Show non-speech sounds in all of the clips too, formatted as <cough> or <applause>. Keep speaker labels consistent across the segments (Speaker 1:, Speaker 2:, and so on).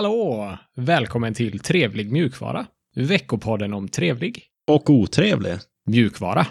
Speaker 1: Hallå! Välkommen till Trevlig mjukvara. Veckopodden om trevlig
Speaker 2: Och otrevlig.
Speaker 1: mjukvara.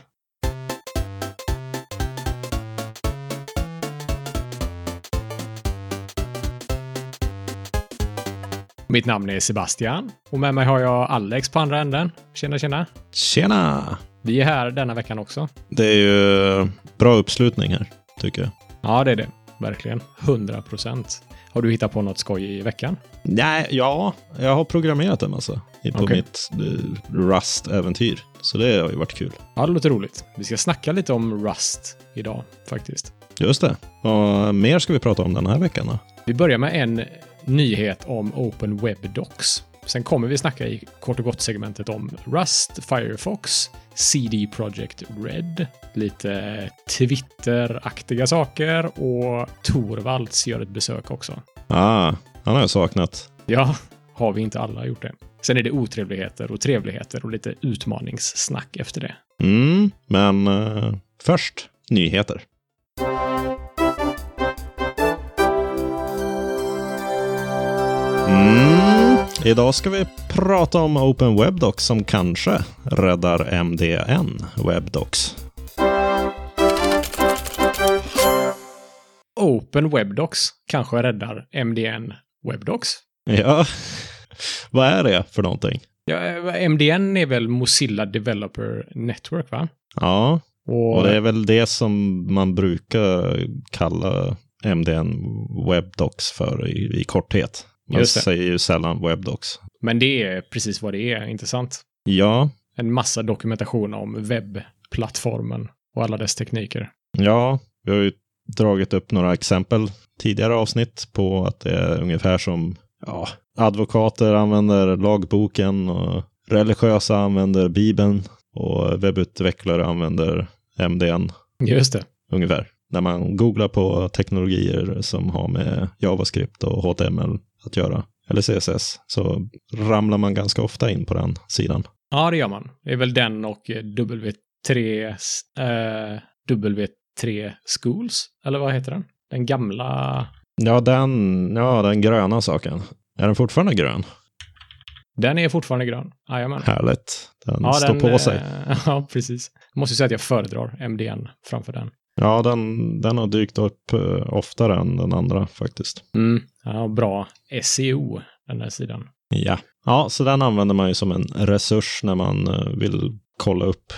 Speaker 1: Mitt namn är Sebastian och med mig har jag Alex på andra änden. Tjena, tjena!
Speaker 2: Tjena!
Speaker 1: Vi är här denna veckan också.
Speaker 2: Det är ju bra uppslutning här, tycker jag.
Speaker 1: Ja, det är det. Verkligen. 100 procent. Har du hittat på något skoj i veckan?
Speaker 2: Nej, ja, jag har programmerat en massa i- på
Speaker 1: Okej.
Speaker 2: mitt eh, Rust-äventyr. Så det har ju varit kul.
Speaker 1: Ja, det låter roligt. Vi ska snacka lite om Rust idag, faktiskt.
Speaker 2: Just det. Vad mer ska vi prata om den här veckan då?
Speaker 1: Vi börjar med en nyhet om Open Web Docs. Sen kommer vi snacka i kort och gott segmentet om Rust, Firefox, CD Projekt Red, lite Twitter-aktiga saker och Torvalds gör ett besök också.
Speaker 2: Ah, han har jag saknat.
Speaker 1: Ja, har vi inte alla gjort det? Sen är det otrevligheter och trevligheter och lite utmaningssnack efter det.
Speaker 2: Mm, men eh, först nyheter. Mm, idag ska vi prata om Open Webdocs som kanske räddar MDN Webdocs.
Speaker 1: Open Web Docs kanske räddar MDN Web Docs.
Speaker 2: <laughs> Ja, vad är det för någonting?
Speaker 1: Ja, eh, MDN är väl Mozilla Developer Network, va?
Speaker 2: Ja,
Speaker 1: Och,
Speaker 2: och det är väl det som man brukar kalla MDN Webdocs för i, i korthet. Man
Speaker 1: Just det.
Speaker 2: säger ju sällan Webdocs.
Speaker 1: Men det är precis vad det är, inte sant?
Speaker 2: Ja,
Speaker 1: En massa dokumentation om webbplattformen och alla dess tekniker.
Speaker 2: Ja, vi har ju dragit upp några exempel tidigare avsnitt på att det är ungefär som ja, advokater använder lagboken och religiösa använder bibeln och webbutvecklare använder MDN
Speaker 1: Just det.
Speaker 2: ungefär. När man googlar på teknologier som har med JavaScript och HTML att göra, eller CSS, så ramlar man ganska ofta in på den sidan.
Speaker 1: Ja, det gör man. Det är väl den och eh, W3... s- Eh, W3 Schools, eller vad heter den? Den gamla...
Speaker 2: Ja, den, ja, den gröna saken. Är den fortfarande grön?
Speaker 1: Den är fortfarande grön. Jajamän.
Speaker 2: Härligt. Den står
Speaker 1: den,
Speaker 2: på sig.
Speaker 1: eh, <laughs> Ja, precis. Måste ju säga att jag föredrar MDN framför den.
Speaker 2: Ja, den, den har dykt upp eh, oftare än den andra faktiskt.
Speaker 1: Mm. Ja, bra SEO, den där sidan.
Speaker 2: Ja. Ja, så den använder man ju som en resurs när man eh, vill kolla upp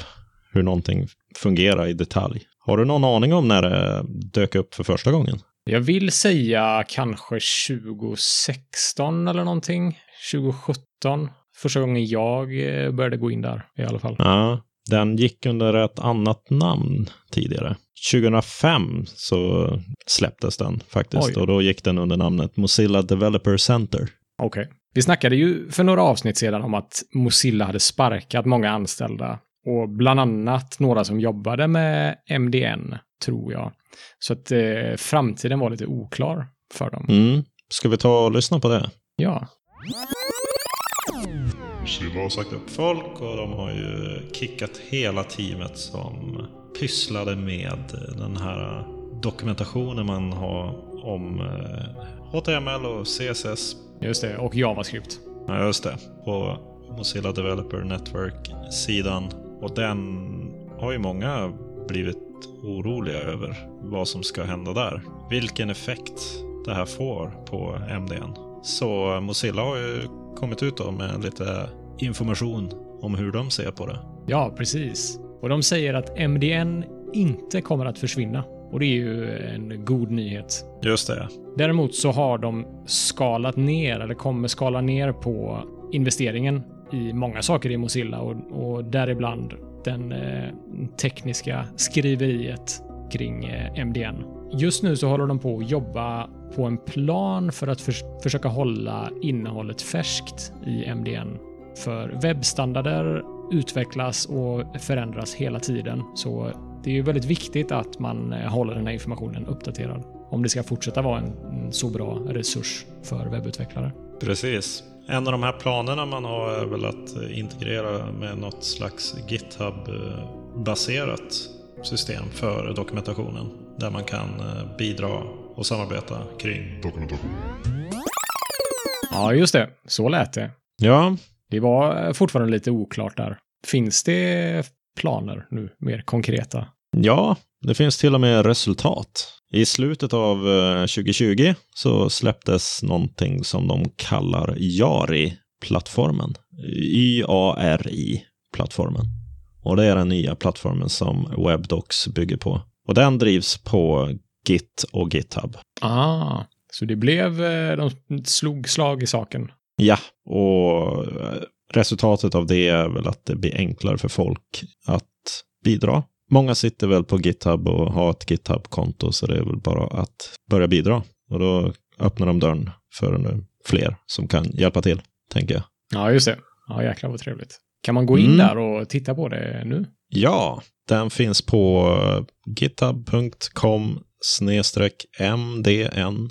Speaker 2: hur någonting fungerar i detalj. Har du någon aning om när det dök upp för första gången?
Speaker 1: Jag vill säga kanske 2016 eller någonting. 2017. Första gången jag eh, började gå in där i alla fall.
Speaker 2: Ja, den gick under ett annat namn tidigare. 2005 så släpptes den faktiskt
Speaker 1: Oj.
Speaker 2: och då gick den under namnet Mozilla Developer Center.
Speaker 1: Okej. Vi snackade ju för några avsnitt sedan om att Mozilla hade sparkat många anställda. Och bland annat några som jobbade med MDN, tror jag. Så att eh, framtiden var lite oklar för dem.
Speaker 2: Mm. Ska vi ta och lyssna på det?
Speaker 1: Ja.
Speaker 2: Mozilla har sagt upp folk och de har ju kickat hela teamet som pysslade med den här dokumentationen man har om eh, HTML och CSS.
Speaker 1: Just det, och JavaScript.
Speaker 2: Ja, just det. På Mozilla Developer Network-sidan. Och den har ju många blivit oroliga över vad som ska hända där. Vilken effekt det här får på MDN. Så Mozilla har ju kommit ut då med lite information om hur de ser på det.
Speaker 1: Ja, precis. Och de säger att MDN inte kommer att försvinna. Och det är ju en god nyhet.
Speaker 2: Just det.
Speaker 1: Däremot så har de skalat ner, eller kommer skala ner på investeringen i många saker i Mozilla och, och däribland den eh, tekniska skriveriet kring eh, MDN. Just nu så håller de på att jobba på en plan för att förs- försöka hålla innehållet färskt i MDN. För webbstandarder utvecklas och förändras hela tiden, så det är ju väldigt viktigt att man eh, håller den här informationen uppdaterad om det ska fortsätta vara en en så bra resurs för webbutvecklare.
Speaker 2: Precis. En av de här planerna man har är väl att integrera med något slags GitHub-baserat system för dokumentationen. Där man kan eh, bidra och samarbeta kring.
Speaker 1: Ja, Ja, just det. Så lät det.
Speaker 2: Ja,
Speaker 1: Det var eh, fortfarande lite oklart där. Finns det planer nu, mer konkreta?
Speaker 2: Ja, det finns till och med resultat. I slutet av eh, 2020 så släpptes någonting som de kallar Yari-plattformen. Y-A-R-I-plattformen. Och det är den nya plattformen som WebDocs bygger på. Och den drivs på Git och GitHub.
Speaker 1: Ah, så det blev, eh, de slog slag i saken.
Speaker 2: Ja, och eh, resultatet av det är väl att det blir enklare för folk att bidra. Många sitter väl på GitHub och har ett GitHub-konto, så det är väl bara att börja bidra. Och då öppnar de dörren för nu fler som kan hjälpa till, tänker jag.
Speaker 1: Ja, just det. Ja, jäklar vad trevligt. Kan man gå in
Speaker 2: Mm.
Speaker 1: där och titta på det nu?
Speaker 2: Ja, den finns på eh, github.com mdn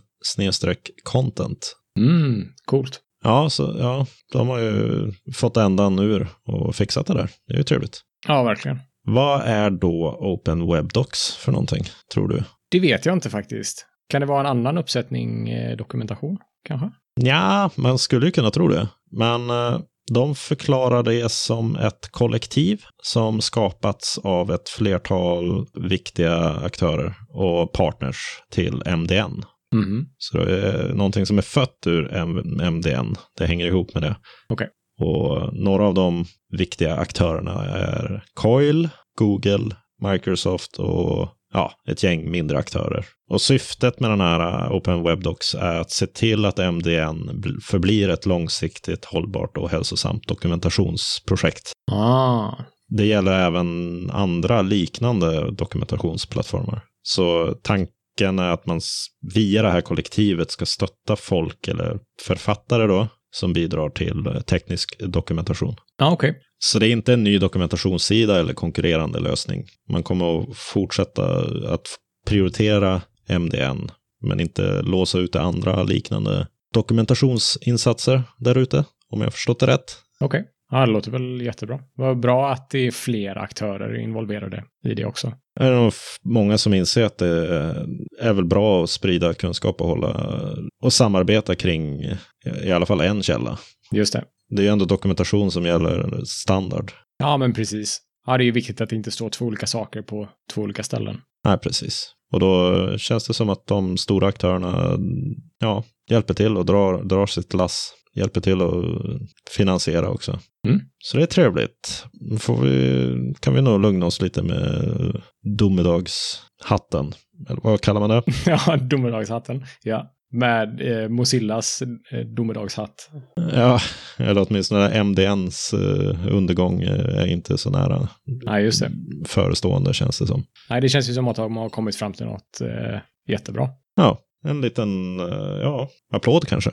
Speaker 2: content.
Speaker 1: Mm, coolt.
Speaker 2: Ja, så ja, de har ju fått ändan ur och fixat det där. Det är ju trevligt.
Speaker 1: Ja, verkligen.
Speaker 2: Vad är då Open Web Docs för någonting, tror du?
Speaker 1: Det vet jag inte faktiskt. Kan det vara en annan uppsättning eh, dokumentation, kanske?
Speaker 2: Ja, man skulle ju kunna tro det. Men eh, de förklarar det som ett kollektiv som skapats av ett flertal viktiga aktörer och partners till MDN.
Speaker 1: Mhm.
Speaker 2: Så det är någonting som är fött ur M- MDN. Det hänger ihop med det.
Speaker 1: Okej.
Speaker 2: Och några av de viktiga aktörerna är Coil, Google, Microsoft och ja, ett gäng mindre aktörer. Och syftet med den här eh, Open Web Docs är att se till att MDN bl- förblir ett långsiktigt hållbart och hälsosamt dokumentationsprojekt.
Speaker 1: Ah,
Speaker 2: Det gäller även andra liknande dokumentationsplattformar. Så tanken är att man s- via det här kollektivet ska stötta folk eller författare då som bidrar till eh, teknisk dokumentation.
Speaker 1: ja, okej.
Speaker 2: Så det är inte en ny dokumentationssida eller konkurrerande lösning. Man kommer att fortsätta att f- prioritera MDN men inte låsa ut det andra liknande dokumentationsinsatser där ute, om jag har förstått det rätt.
Speaker 1: Okej. Ja, det låter väl jättebra. Vad bra att det är fler aktörer involverade i det också.
Speaker 2: Det är nog f- många som inser att det är väl bra att sprida kunskap och hålla och samarbeta kring i alla fall en källa.
Speaker 1: Just det.
Speaker 2: Det är ju ändå dokumentation som gäller standard.
Speaker 1: Ja, men precis. Ja, det är ju viktigt att det inte står två olika saker på två olika ställen. <laughs>
Speaker 2: Nej, precis. Och då känns det som att de stora aktörerna ja, hjälper till och drar, drar sitt lass. Hjälper till att finansiera också.
Speaker 1: Mm.
Speaker 2: Så det är trevligt. Får vi, kan vi nog lugna oss lite med domedagshatten. Eller vad kallar man det?
Speaker 1: ja, domedagshatten. Ja. Med eh, Mozillas eh, domedagshatt.
Speaker 2: Ja, eller åtminstone MDNs eh, undergång eh, är inte så nära
Speaker 1: Nej, just det.
Speaker 2: förestående känns det som.
Speaker 1: Nej, det känns ju som att de har kommit fram till något eh, jättebra.
Speaker 2: Ja, en liten eh, ja, applåd kanske.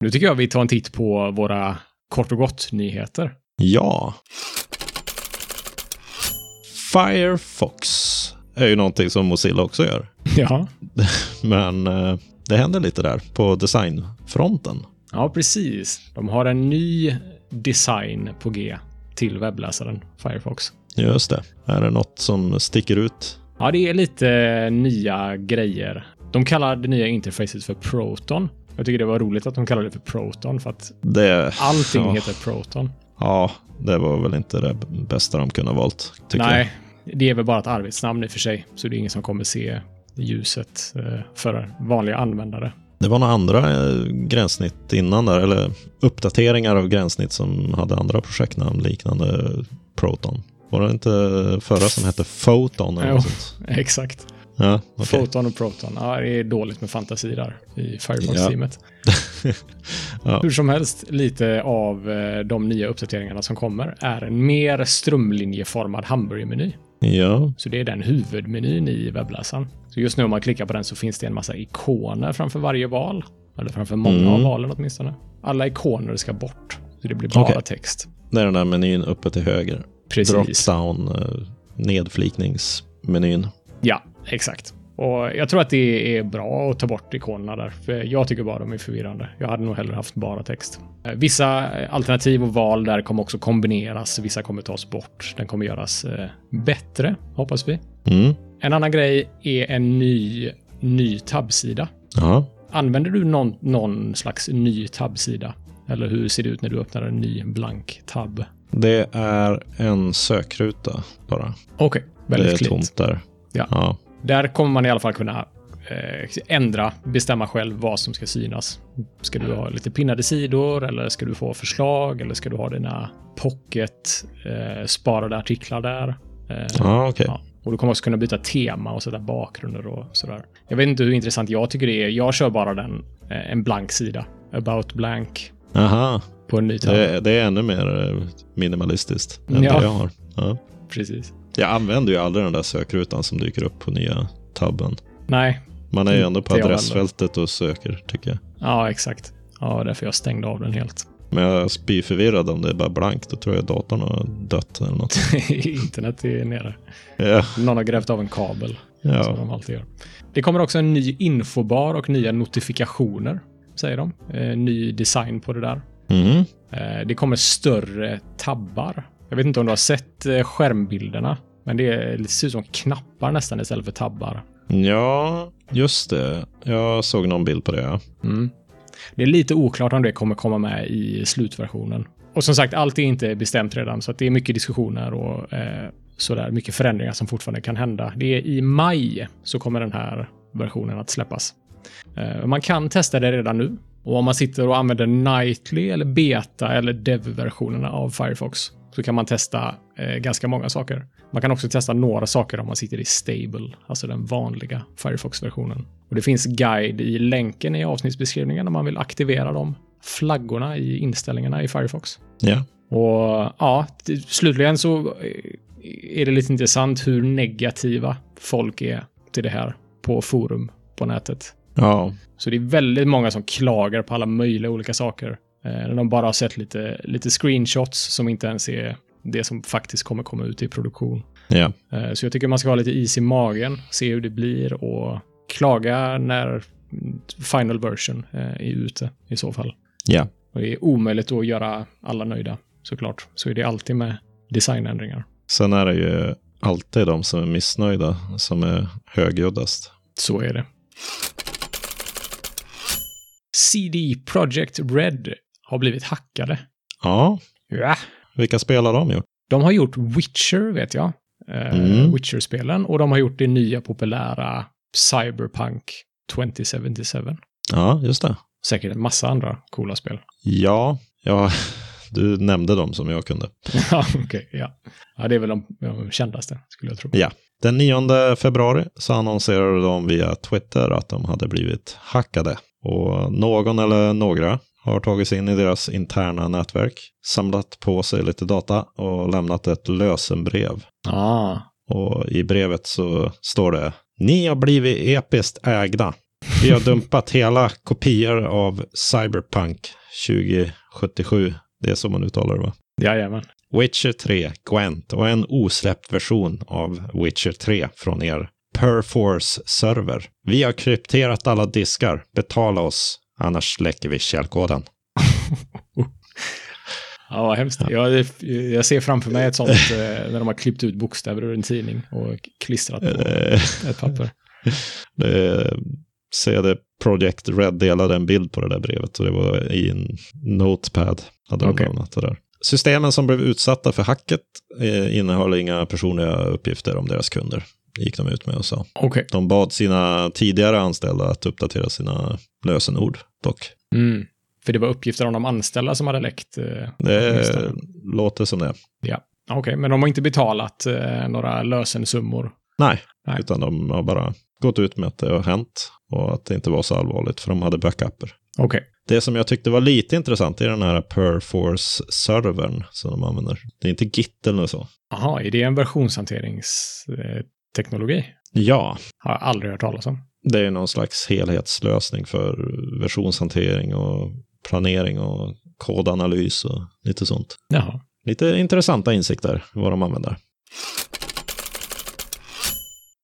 Speaker 1: Nu tycker jag vi tar en titt på våra kort och gott-nyheter.
Speaker 2: Ja. Firefox är ju någonting som Mozilla också gör.
Speaker 1: <laughs> Ja.
Speaker 2: Men eh, det händer lite där på designfronten.
Speaker 1: Ja, precis. De har en ny design på G till webbläsaren Firefox.
Speaker 2: Just det. Är det något som sticker ut?
Speaker 1: Ja, det är lite nya grejer. De kallar det nya interfacet för Proton. Jag tycker det var roligt att de kallade det för Proton för att
Speaker 2: Det,
Speaker 1: allting
Speaker 2: ja,
Speaker 1: heter Proton.
Speaker 2: Ja, det var väl inte det bästa de kunde ha valt. Tycker
Speaker 1: Nej, det är väl bara ett arbetsnamn i och för sig, så det är ingen som kommer se ljuset eh, för vanliga användare. <laughs>
Speaker 2: Det var några andra eh, gränssnitt innan där, eller uppdateringar av gränssnitt som hade andra projektnamn liknande Proton. Var det inte förra som hette Photon? Eller
Speaker 1: Jo.
Speaker 2: något sånt?
Speaker 1: Exakt.
Speaker 2: Ja, okej.
Speaker 1: Photon och Proton. Ja, det är dåligt med fantasi där i Firefox-teamet.
Speaker 2: Ja.
Speaker 1: Hur som helst, lite av eh, de nya uppdateringarna som kommer är en mer strömlinjeformad hamburgermeny.
Speaker 2: <laughs> ja,
Speaker 1: Så det är den huvudmenyn i webbläsaren. Så just nu om man klickar på den så finns det en massa ikoner framför varje val. Eller framför många av
Speaker 2: Mm.
Speaker 1: valen åtminstone. Alla ikoner ska bort. Så det blir bara
Speaker 2: Okej.
Speaker 1: text.
Speaker 2: det är den där menyn uppe till höger.
Speaker 1: Precis.
Speaker 2: Drop-down, eh, nedflikningsmenyn.
Speaker 1: Ja, exakt. Och jag tror att det är bra att ta bort ikonerna där. För jag tycker bara de är förvirrande. Jag hade nog hellre haft bara text. Eh, Vissa eh, alternativ och val där kommer också kombineras. Vissa kommer tas bort. Den kommer göras eh, bättre, hoppas vi.
Speaker 2: Mm.
Speaker 1: En annan grej är en ny, ny tabbsida.
Speaker 3: Ja.
Speaker 1: Använder du någon, någon slags ny tabbsida? Eller hur ser det ut när du öppnar en ny blank tabb?
Speaker 2: Det är en sökruta bara.
Speaker 1: Okej,
Speaker 2: Det
Speaker 1: väldigt
Speaker 2: är
Speaker 1: klint.
Speaker 2: tomt där.
Speaker 1: Ja.
Speaker 2: ja.
Speaker 1: Där kommer man i alla fall kunna eh, ändra, bestämma själv vad som ska synas. Ska du ha lite pinnade sidor eller ska du få förslag eller ska du ha dina pocket eh, sparade artiklar där? Eh,
Speaker 2: Ja, okej.
Speaker 1: ja. Och du kommer också kunna byta tema och sätta bakgrunder och sådär. Jag vet inte hur intressant jag tycker det är. Jag kör bara den, eh, en blank sida. About blank
Speaker 2: Aha,
Speaker 1: på en ny tab.
Speaker 2: det, det är ännu mer eh, minimalistiskt än
Speaker 1: Ja.
Speaker 2: det jag har. Ja.
Speaker 1: Precis.
Speaker 2: Jag använder ju aldrig den där sökrutan som dyker upp på nya tabben.
Speaker 1: Nej,
Speaker 2: Man är ju ändå på
Speaker 1: Inte jag
Speaker 2: adressfältet och söker, tycker jag.
Speaker 1: ja exakt. Ja, därför jag stängde av den helt. <laughs>
Speaker 2: Men jag är spyförvirrad om det är bara blankt. Då tror jag datorn har dött
Speaker 1: <laughs>
Speaker 2: eller något.
Speaker 1: Internet är nere.
Speaker 2: Ja,
Speaker 1: Någon har grävt av en kabel. Som
Speaker 2: ja.
Speaker 1: de alltid gör. Det kommer också en ny infobar och nya notifikationer, säger de. Eh, ny design på det där.
Speaker 2: Mhm.
Speaker 1: Eh, det kommer större tabbar. Jag vet inte om du har sett eh, skärmbilderna, men det, är, det ser ut som knappar nästan istället för tabbar.
Speaker 2: ja just det. Jag såg någon bild på det. Ja.
Speaker 1: Mm. Det är lite oklart om det kommer komma med i slutversionen. Och som sagt, allt är inte bestämt redan, så att det är mycket diskussioner och eh, sådär, mycket förändringar som fortfarande kan hända. Det är i maj så kommer den här versionen att släppas. Eh, man kan testa det redan nu. Och om man sitter och använder Nightly eller Beta eller Dev-versionerna av Firefox så kan man testa eh, ganska många saker. Man kan också testa några saker om man sitter i Stable, alltså den vanliga Firefox-versionen. Och det finns guide i länken i avsnittsbeskrivningen om man vill aktivera de flaggorna i inställningarna i Firefox.
Speaker 2: ja.
Speaker 1: Och ja, t- slutligen så eh, är det lite intressant hur negativa folk är till det här på forum på nätet.
Speaker 2: Ja.
Speaker 1: Så det är väldigt många som klagar på alla möjliga olika saker. Eh, när de bara har sett lite, lite screenshots som inte ens är det som faktiskt kommer komma ut i produktion.
Speaker 2: Ja.
Speaker 1: Eh, så jag tycker man ska ha lite is i magen, se hur det blir och klaga när final version eh, är ute i så fall.
Speaker 2: Ja.
Speaker 1: Och det är omöjligt att göra alla nöjda såklart. Så är det alltid med designändringar.
Speaker 2: Sen är det ju alltid de som är missnöjda som är högljuddast.
Speaker 1: Så är det. CD Projekt Red har blivit hackade.
Speaker 2: Ja,
Speaker 1: Ja.
Speaker 2: vilka spel har de gjort?
Speaker 1: De har gjort Witcher, vet jag. Eh,
Speaker 2: Mm.
Speaker 1: Witcher-spelen. Och de har gjort det nya populära Cyberpunk 2077.
Speaker 2: Ja, just det.
Speaker 1: Säkert en massa andra coola spel. <laughs>
Speaker 2: Ja, ja <laughs> du nämnde dem som jag kunde.
Speaker 1: ja, okej. ja. ja, det är väl de, de kändaste, skulle jag tro.
Speaker 2: Ja. Den 9 februari så annonserade de via Twitter att de hade blivit hackade. Och någon eller några har tagit sig in i deras interna nätverk, samlat på sig lite data och lämnat ett lösenbrev.
Speaker 1: Ah.
Speaker 2: Och i brevet så står det Ni har blivit episkt ägda. Vi har dumpat hela kopior av Cyberpunk 2077. Det är så man uttalar det va?
Speaker 1: Jajamän.
Speaker 2: Witcher 3, Gwent och en osläppt version av Witcher 3 från er Perforce-server. Vi har krypterat alla diskar. Betala oss, annars läcker vi källkoden.
Speaker 1: Ja, vad hemskt. Jag, jag ser framför mig ett sånt eh, när de har klippt ut bokstäver ur en tidning och klistrat på
Speaker 2: Eh,
Speaker 1: ett papper.
Speaker 2: eh, CD Projekt Red delade en bild på det där brevet och det var i en notepad. Hade de
Speaker 1: Okej.
Speaker 2: lämnat det där. Systemen som blev utsatta för hacket eh, innehöll inga personliga uppgifter om deras kunder, gick de ut med och sa.
Speaker 1: Okej.
Speaker 2: De bad sina tidigare anställda att uppdatera sina lösenord dock.
Speaker 1: Mm. För det var uppgifter om de anställda som hade läckt. Eh,
Speaker 2: Det
Speaker 1: Just det.
Speaker 2: låter som det.
Speaker 1: Okej, men de har inte betalat eh, några lösensummor.
Speaker 2: Nej.
Speaker 1: Nej.
Speaker 2: utan de har bara gått ut med att det har hänt och att det inte var så allvarligt för de hade backuper.
Speaker 1: Okej.
Speaker 2: Det som jag tyckte var lite intressant är den här Perforce-servern som de använder. Det är inte Git eller något så.
Speaker 1: Jaha, är det en versionshanteringsteknologi?
Speaker 2: Ja,
Speaker 1: Har jag aldrig hört talas om.
Speaker 2: det är någon slags helhetslösning för versionshantering och planering och kodanalys och lite sånt.
Speaker 1: Jaha.
Speaker 2: Lite intressanta insikter vad de använder.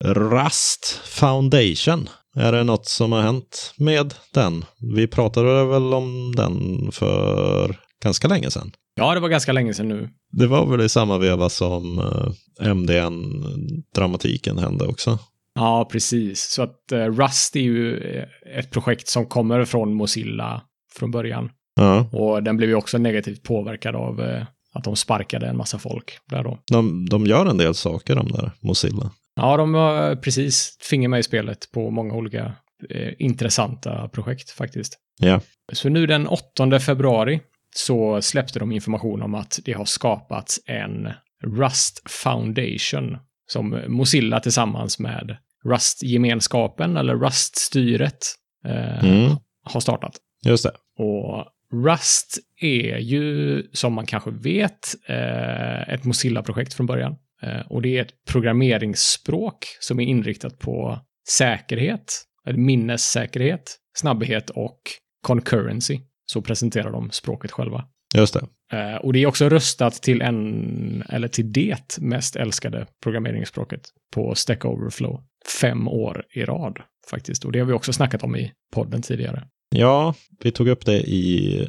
Speaker 2: Rust Foundation. Är det något som har hänt med den? Vi pratade väl om den för ganska länge sedan.
Speaker 1: Ja, det var ganska länge sedan nu.
Speaker 2: Det var väl i samma veva som eh, MDN-dramatiken hände också.
Speaker 1: Ja, precis. Så att eh, Rust är ju eh, ett projekt som kommer från Mozilla från början.
Speaker 2: Ja.
Speaker 1: Och den blev ju också negativt påverkad av eh, att de sparkade en massa folk där då.
Speaker 2: De, de gör en del saker de där, Mozilla.
Speaker 1: Ja, de har precis finger med i spelet på många olika eh, intressanta projekt faktiskt.
Speaker 2: Ja.
Speaker 1: Så nu den 8 februari så släppte de information om att det har skapats en Rust Foundation som Mozilla tillsammans med Rust-gemenskapen eller Rust-styret eh,
Speaker 2: Mm.
Speaker 1: har startat.
Speaker 2: Just det.
Speaker 1: Och Rust är ju, som man kanske vet, eh, ett Mozilla-projekt från början. Eh, Och det är ett programmeringsspråk som är inriktat på säkerhet, eller minnessäkerhet, snabbhet och concurrency. Så presenterar de språket själva.
Speaker 2: Just det.
Speaker 1: Eh, Och det är också röstat till en, eller till det mest älskade programmeringsspråket på Stack Overflow. Fem år i rad faktiskt. Och det har vi också snackat om i podden tidigare.
Speaker 2: Ja, vi tog upp det i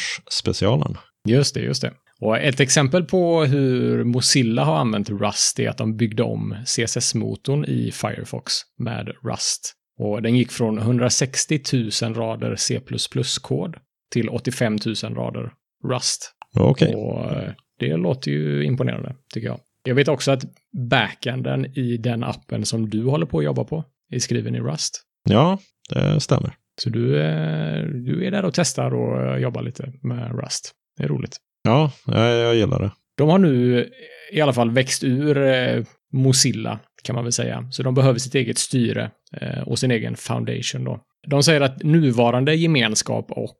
Speaker 2: nyårsspecialen.
Speaker 1: Just det, just det. Och ett exempel på hur Mozilla har använt Rust är att de byggde om CSS-motorn i Firefox med Rust. Och den gick från 160 000 rader C++-kod till 85 000 rader Rust.
Speaker 2: Okej.
Speaker 1: Och eh, det låter ju imponerande, tycker jag. Jag vet också att backenden i den appen som du håller på att jobba på är skriven i Rust.
Speaker 2: Ja, det stämmer.
Speaker 1: Så du, eh, du är där och testar och eh, jobbar lite med Rust. Det är roligt.
Speaker 2: Ja, jag, jag gillar det.
Speaker 1: De har nu eh, i alla fall växt ur eh, Mozilla, kan man väl säga. Så de behöver sitt eget styre eh, och sin egen foundation då. De säger att nuvarande gemenskap och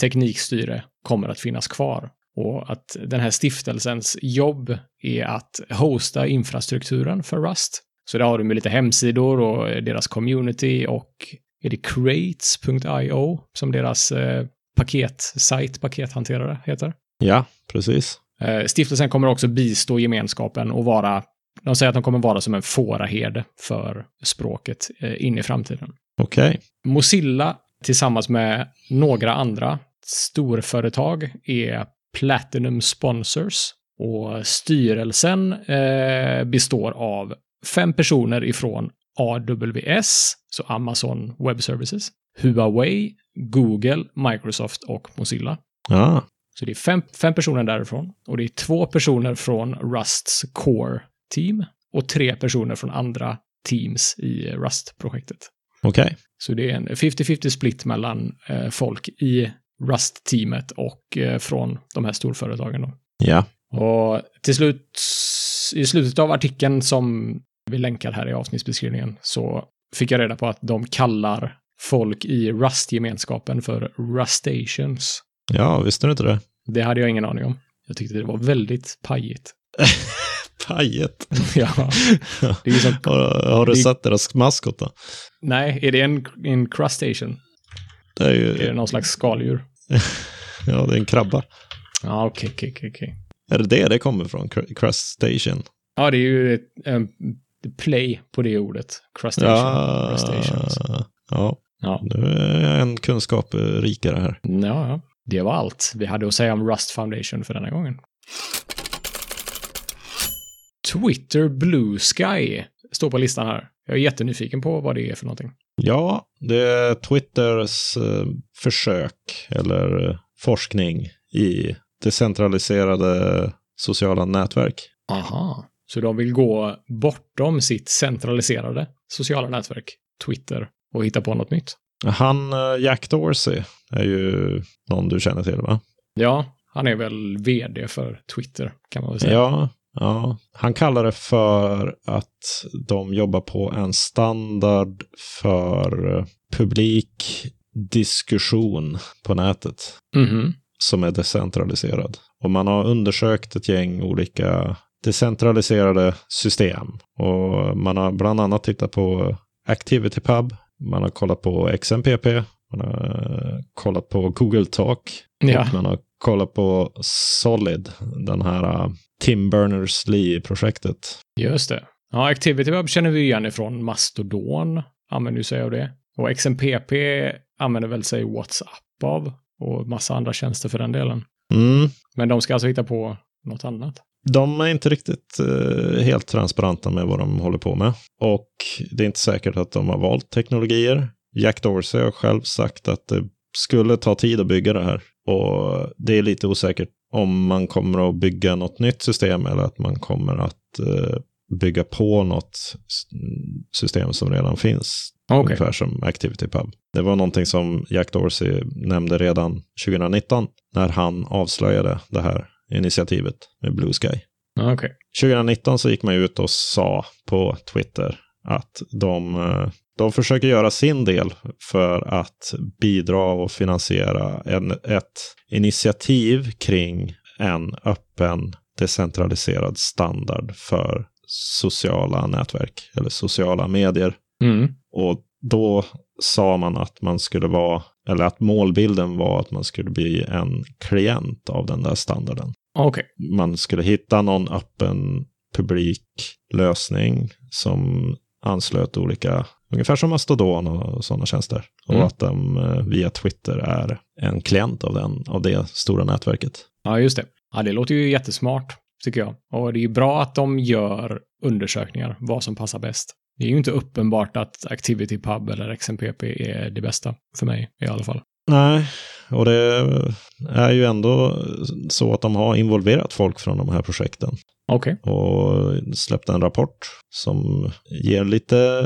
Speaker 1: teknikstyre kommer att finnas kvar. Och att den här stiftelsens jobb är att hosta infrastrukturen för Rust. Så där har de ju lite hemsidor och eh, deras community och är det crates.io som deras eh, paketsajt, pakethanterare heter?
Speaker 2: Ja, precis.
Speaker 1: Eh, Stiftelsen kommer också bistå gemenskapen och vara, de säger att de kommer vara som en fåraherde för språket eh, in i framtiden.
Speaker 2: Okej.
Speaker 1: Mozilla tillsammans med några andra storföretag är Platinum Sponsors och styrelsen eh, består av fem personer ifrån AWS, så Amazon Web Services, Huawei, Google, Microsoft och Mozilla.
Speaker 2: Ja,
Speaker 1: Så det är fem, fem personer därifrån och det är två personer från Rusts core team och tre personer från andra teams i Rust-projektet.
Speaker 2: okej.
Speaker 1: Så det är en 50-50 split mellan eh, folk i Rust-teamet och eh, från de här storföretagen. Då.
Speaker 2: Ja,
Speaker 1: Och till slut, i slutet av artikeln som vi länkar här i avsnittsbeskrivningen så fick jag reda på att de kallar folk i Rust-gemenskapen för Rustations.
Speaker 2: ja visste du inte det? <laughs>
Speaker 1: Det hade jag ingen aning om. Jag tyckte det var väldigt pajigt.
Speaker 2: Pajet.
Speaker 1: ja. Det är ju som,
Speaker 2: Har, har du
Speaker 1: Det-
Speaker 2: sett deras maskot då?
Speaker 1: nej, är det en, en crustation?
Speaker 2: Det är ju,
Speaker 1: Är det någon slags skaldjur?
Speaker 2: ja, det är en krabba.
Speaker 1: Ja, okej, okej, okej, okej.
Speaker 2: Är det det det kommer från? Cr- Crust Station?
Speaker 1: Ja, det är ju ett, en play på det ordet. Crustation.
Speaker 2: Ja,
Speaker 1: Crustaceans.
Speaker 2: ja,
Speaker 1: Ja.
Speaker 2: nu är jag en kunskap eh, rikare här.
Speaker 1: ja, ja. Det var allt vi hade att säga om Rust Foundation för denna gången. Twitter Blue Sky står på listan här. Jag är jättenyfiken på vad det är för någonting.
Speaker 2: Ja, det är Twitters eh, försök eller eh, forskning i decentraliserade sociala nätverk.
Speaker 1: Aha. Så de vill gå bortom sitt centraliserade sociala nätverk, Twitter, och hitta på något nytt.
Speaker 2: Han, eh, Jack Dorsey, är ju någon du känner till, va?
Speaker 1: Ja, han är väl vd för Twitter, kan man väl säga.
Speaker 2: Ja, ja. Han kallar det för att de jobbar på en standard för eh, publik diskussion på nätet
Speaker 1: Mhm.
Speaker 2: som är decentraliserad. Och man har undersökt ett gäng olika decentraliserade system. Och man har bland annat tittat på ActivityPub, man har kollat på XMPP, man har eh, kollat på Google Talk,
Speaker 1: Ja.
Speaker 2: och man har kollat på Solid, den här eh, Tim Berners-Lee-projektet.
Speaker 1: Just det. Ja, ActivityWeb känner vi igen ifrån Mastodon, använder ju sig av det. Och XMPP använder väl sig WhatsApp av och massa andra tjänster för den delen.
Speaker 2: Mm.
Speaker 1: Men de ska alltså hitta på något annat.
Speaker 2: De är inte riktigt eh, helt transparenta med vad de håller på med. Och det är inte säkert att de har valt teknologier. Jack Dorsey har själv sagt att det skulle ta tid att bygga det här. Och det är lite osäkert om man kommer att bygga något nytt system eller att man kommer att eh, bygga på något s- system som redan finns.
Speaker 1: Okej.
Speaker 2: Ungefär som ActivityPub. Det var någonting som Jack Dorsey nämnde redan 2019 när han avslöjade det här initiativet med Blue Sky.
Speaker 1: Okej.
Speaker 2: 2019 så gick man ut och sa på Twitter att de, eh, de försöker göra sin del för att bidra och finansiera en, ett initiativ kring en öppen decentraliserad standard för sociala nätverk eller sociala medier.
Speaker 1: Mm.
Speaker 2: Och då sa man att man skulle vara, eller att målbilden var att man skulle bli en klient av den där standarden
Speaker 1: Okej.
Speaker 2: man skulle hitta någon öppen publik lösning som anslöt olika, ungefär som Mastodon och sådana tjänster. Och
Speaker 1: Mm.
Speaker 2: att de eh, via Twitter är en klient av, den, av det stora nätverket.
Speaker 1: Ja, just det. Ja, det låter ju jättesmart, tycker jag. Och det är ju bra att de gör undersökningar, vad som passar bäst. Det är ju inte uppenbart att ActivityPub eller XMPP är det bästa, för mig i alla fall.
Speaker 2: Nej, och det är ju ändå så att de har involverat folk från de här projekten
Speaker 1: Okej.
Speaker 2: och släppt en rapport som ger lite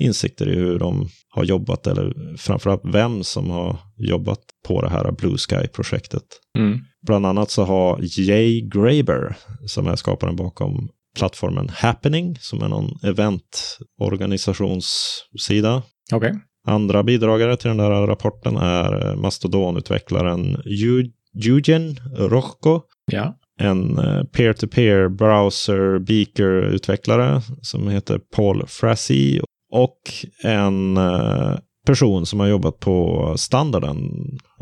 Speaker 2: insikter i hur de har jobbat eller framförallt vem som har jobbat på det här Blue Sky-projektet.
Speaker 1: Mm.
Speaker 2: Bland annat så har Jay Graber, som är skaparen bakom plattformen Happening, som är någon eventorganisationssida.
Speaker 1: Okej. <laughs>
Speaker 2: Andra bidragare till den där rapporten är eh, mastodonutvecklaren Ju- Eugen Rochko,
Speaker 1: Ja.
Speaker 2: en eh, peer-to-peer browser beaker-utvecklare som heter Paul Frassi och en eh, person som har jobbat på standarden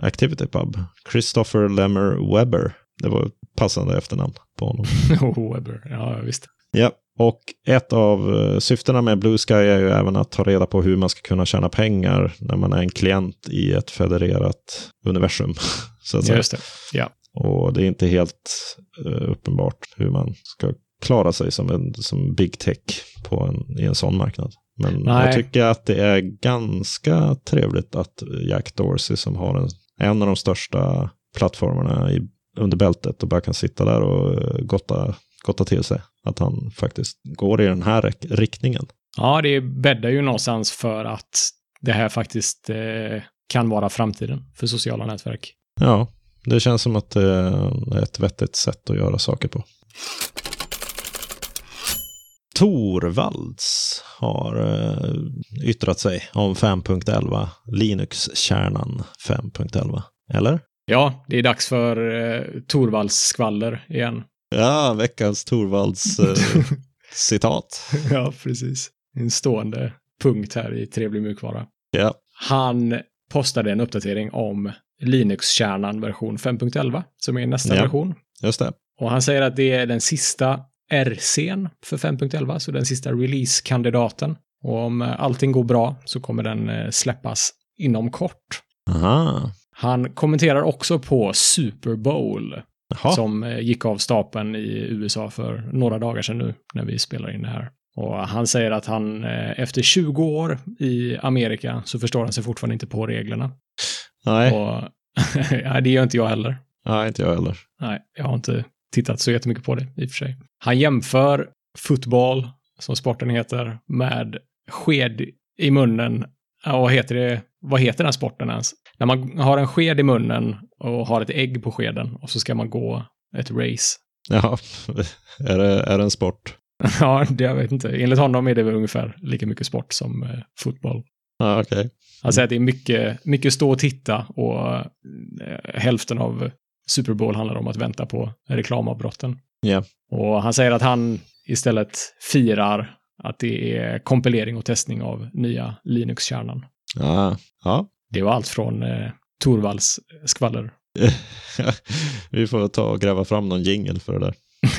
Speaker 2: ActivityPub, Christopher Lemmer Webber. Det var ett passande efternamn på honom.
Speaker 1: Oh, Webber. Ja, visst.
Speaker 2: Ja, och ett av eh, syftena med Blue Sky är ju även att ta reda på hur man ska kunna tjäna pengar när man är en klient i ett federerat universum. <laughs> Så att säga.
Speaker 1: Just det.
Speaker 2: Och det är inte helt eh, uppenbart hur man ska klara sig som, en, som big tech på en, i en sån marknad. Men
Speaker 1: Nej.
Speaker 2: jag tycker att det är ganska trevligt att Jack Dorsey som har en, en av de största plattformarna i, under bältet och bara kan sitta där och eh, gotta, gotta till sig. Att han faktiskt går i den här räck- riktningen.
Speaker 1: Ja, det bäddar ju någonstans för att det här faktiskt eh, kan vara framtiden för sociala nätverk.
Speaker 2: Ja, det känns som att det är ett vettigt sätt att göra saker på. Torvalds har eh, yttrat sig om 5.11, Linux-kärnan 5.11. Eller?
Speaker 1: Ja, det är dags för eh, Torvalds skvaller igen.
Speaker 2: Ja, veckans Torvalds <laughs> eh,
Speaker 1: <laughs>
Speaker 2: citat.
Speaker 1: ja, precis. En stående punkt här i Trevlig mjukvara.
Speaker 2: Ja.
Speaker 1: Han postade en uppdatering om Linux-kärnan version 5.11, som är nästa
Speaker 2: Ja.
Speaker 1: version.
Speaker 2: Just det.
Speaker 1: Och han säger att det är den sista RC'n för 5.11, så den sista release-kandidaten. Och om eh, allting går bra så kommer den eh, släppas inom kort.
Speaker 2: Aha.
Speaker 1: Han kommenterar också på Super Bowl
Speaker 2: Jaha.
Speaker 1: som eh, gick av stapeln i USA för några dagar sedan nu när vi spelar in det här. Och han säger att han eh, efter 20 år i Amerika så förstår han sig fortfarande inte på reglerna.
Speaker 2: Nej,
Speaker 1: Och <laughs> ja, det gör inte jag heller.
Speaker 2: nej, inte jag heller.
Speaker 1: Nej, jag har inte tittat så jättemycket på det i och för sig. Han jämför fotboll, som sporten heter, med sked i munnen. Ja, vad heter det? Vad heter den sporten ens? När man har en sked i munnen och har ett ägg på skeden och så ska man gå ett race.
Speaker 2: Ja, <laughs> är det, är det en sport?
Speaker 1: <laughs> Ja, det jag vet inte. Enligt honom är det väl ungefär lika mycket sport som eh, fotboll.
Speaker 2: Ja, okej.
Speaker 1: Han säger att det är mycket, mycket stå och titta och eh, hälften av Super Bowl handlar om att vänta på reklamavbrotten.
Speaker 2: Ja.
Speaker 1: Och han säger att han istället firar att det är kompilering och testning av nya Linux-kärnan.
Speaker 2: Ja. ja, <laughs>
Speaker 1: Det var allt från eh, Torvalds skvaller. <laughs>
Speaker 2: Vi får ta och gräva fram någon jingle för det där.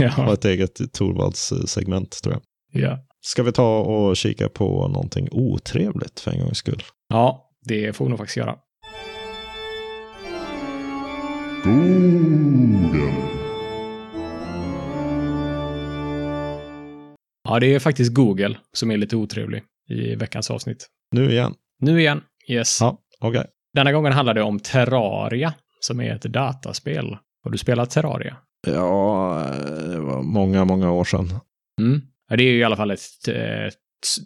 Speaker 2: Ha
Speaker 1: ja.
Speaker 2: ett eget Torvalds-segment tror jag.
Speaker 1: ja.
Speaker 2: Ska vi ta och kika på någonting otrevligt för en gångs skull?
Speaker 1: ja, det får vi nog faktiskt göra.
Speaker 3: Dorden.
Speaker 1: Ja, det är faktiskt Google som är lite otrevlig i veckans avsnitt.
Speaker 2: Nu igen.
Speaker 1: Nu igen. Yes.
Speaker 2: Ja, okej.
Speaker 1: Denna gången handlar det om Terraria, som är ett dataspel. Har du spelat Terraria?
Speaker 2: Ja, det var många, många år sedan.
Speaker 1: Mm. Ja, det är ju i alla fall ett... eh, ett-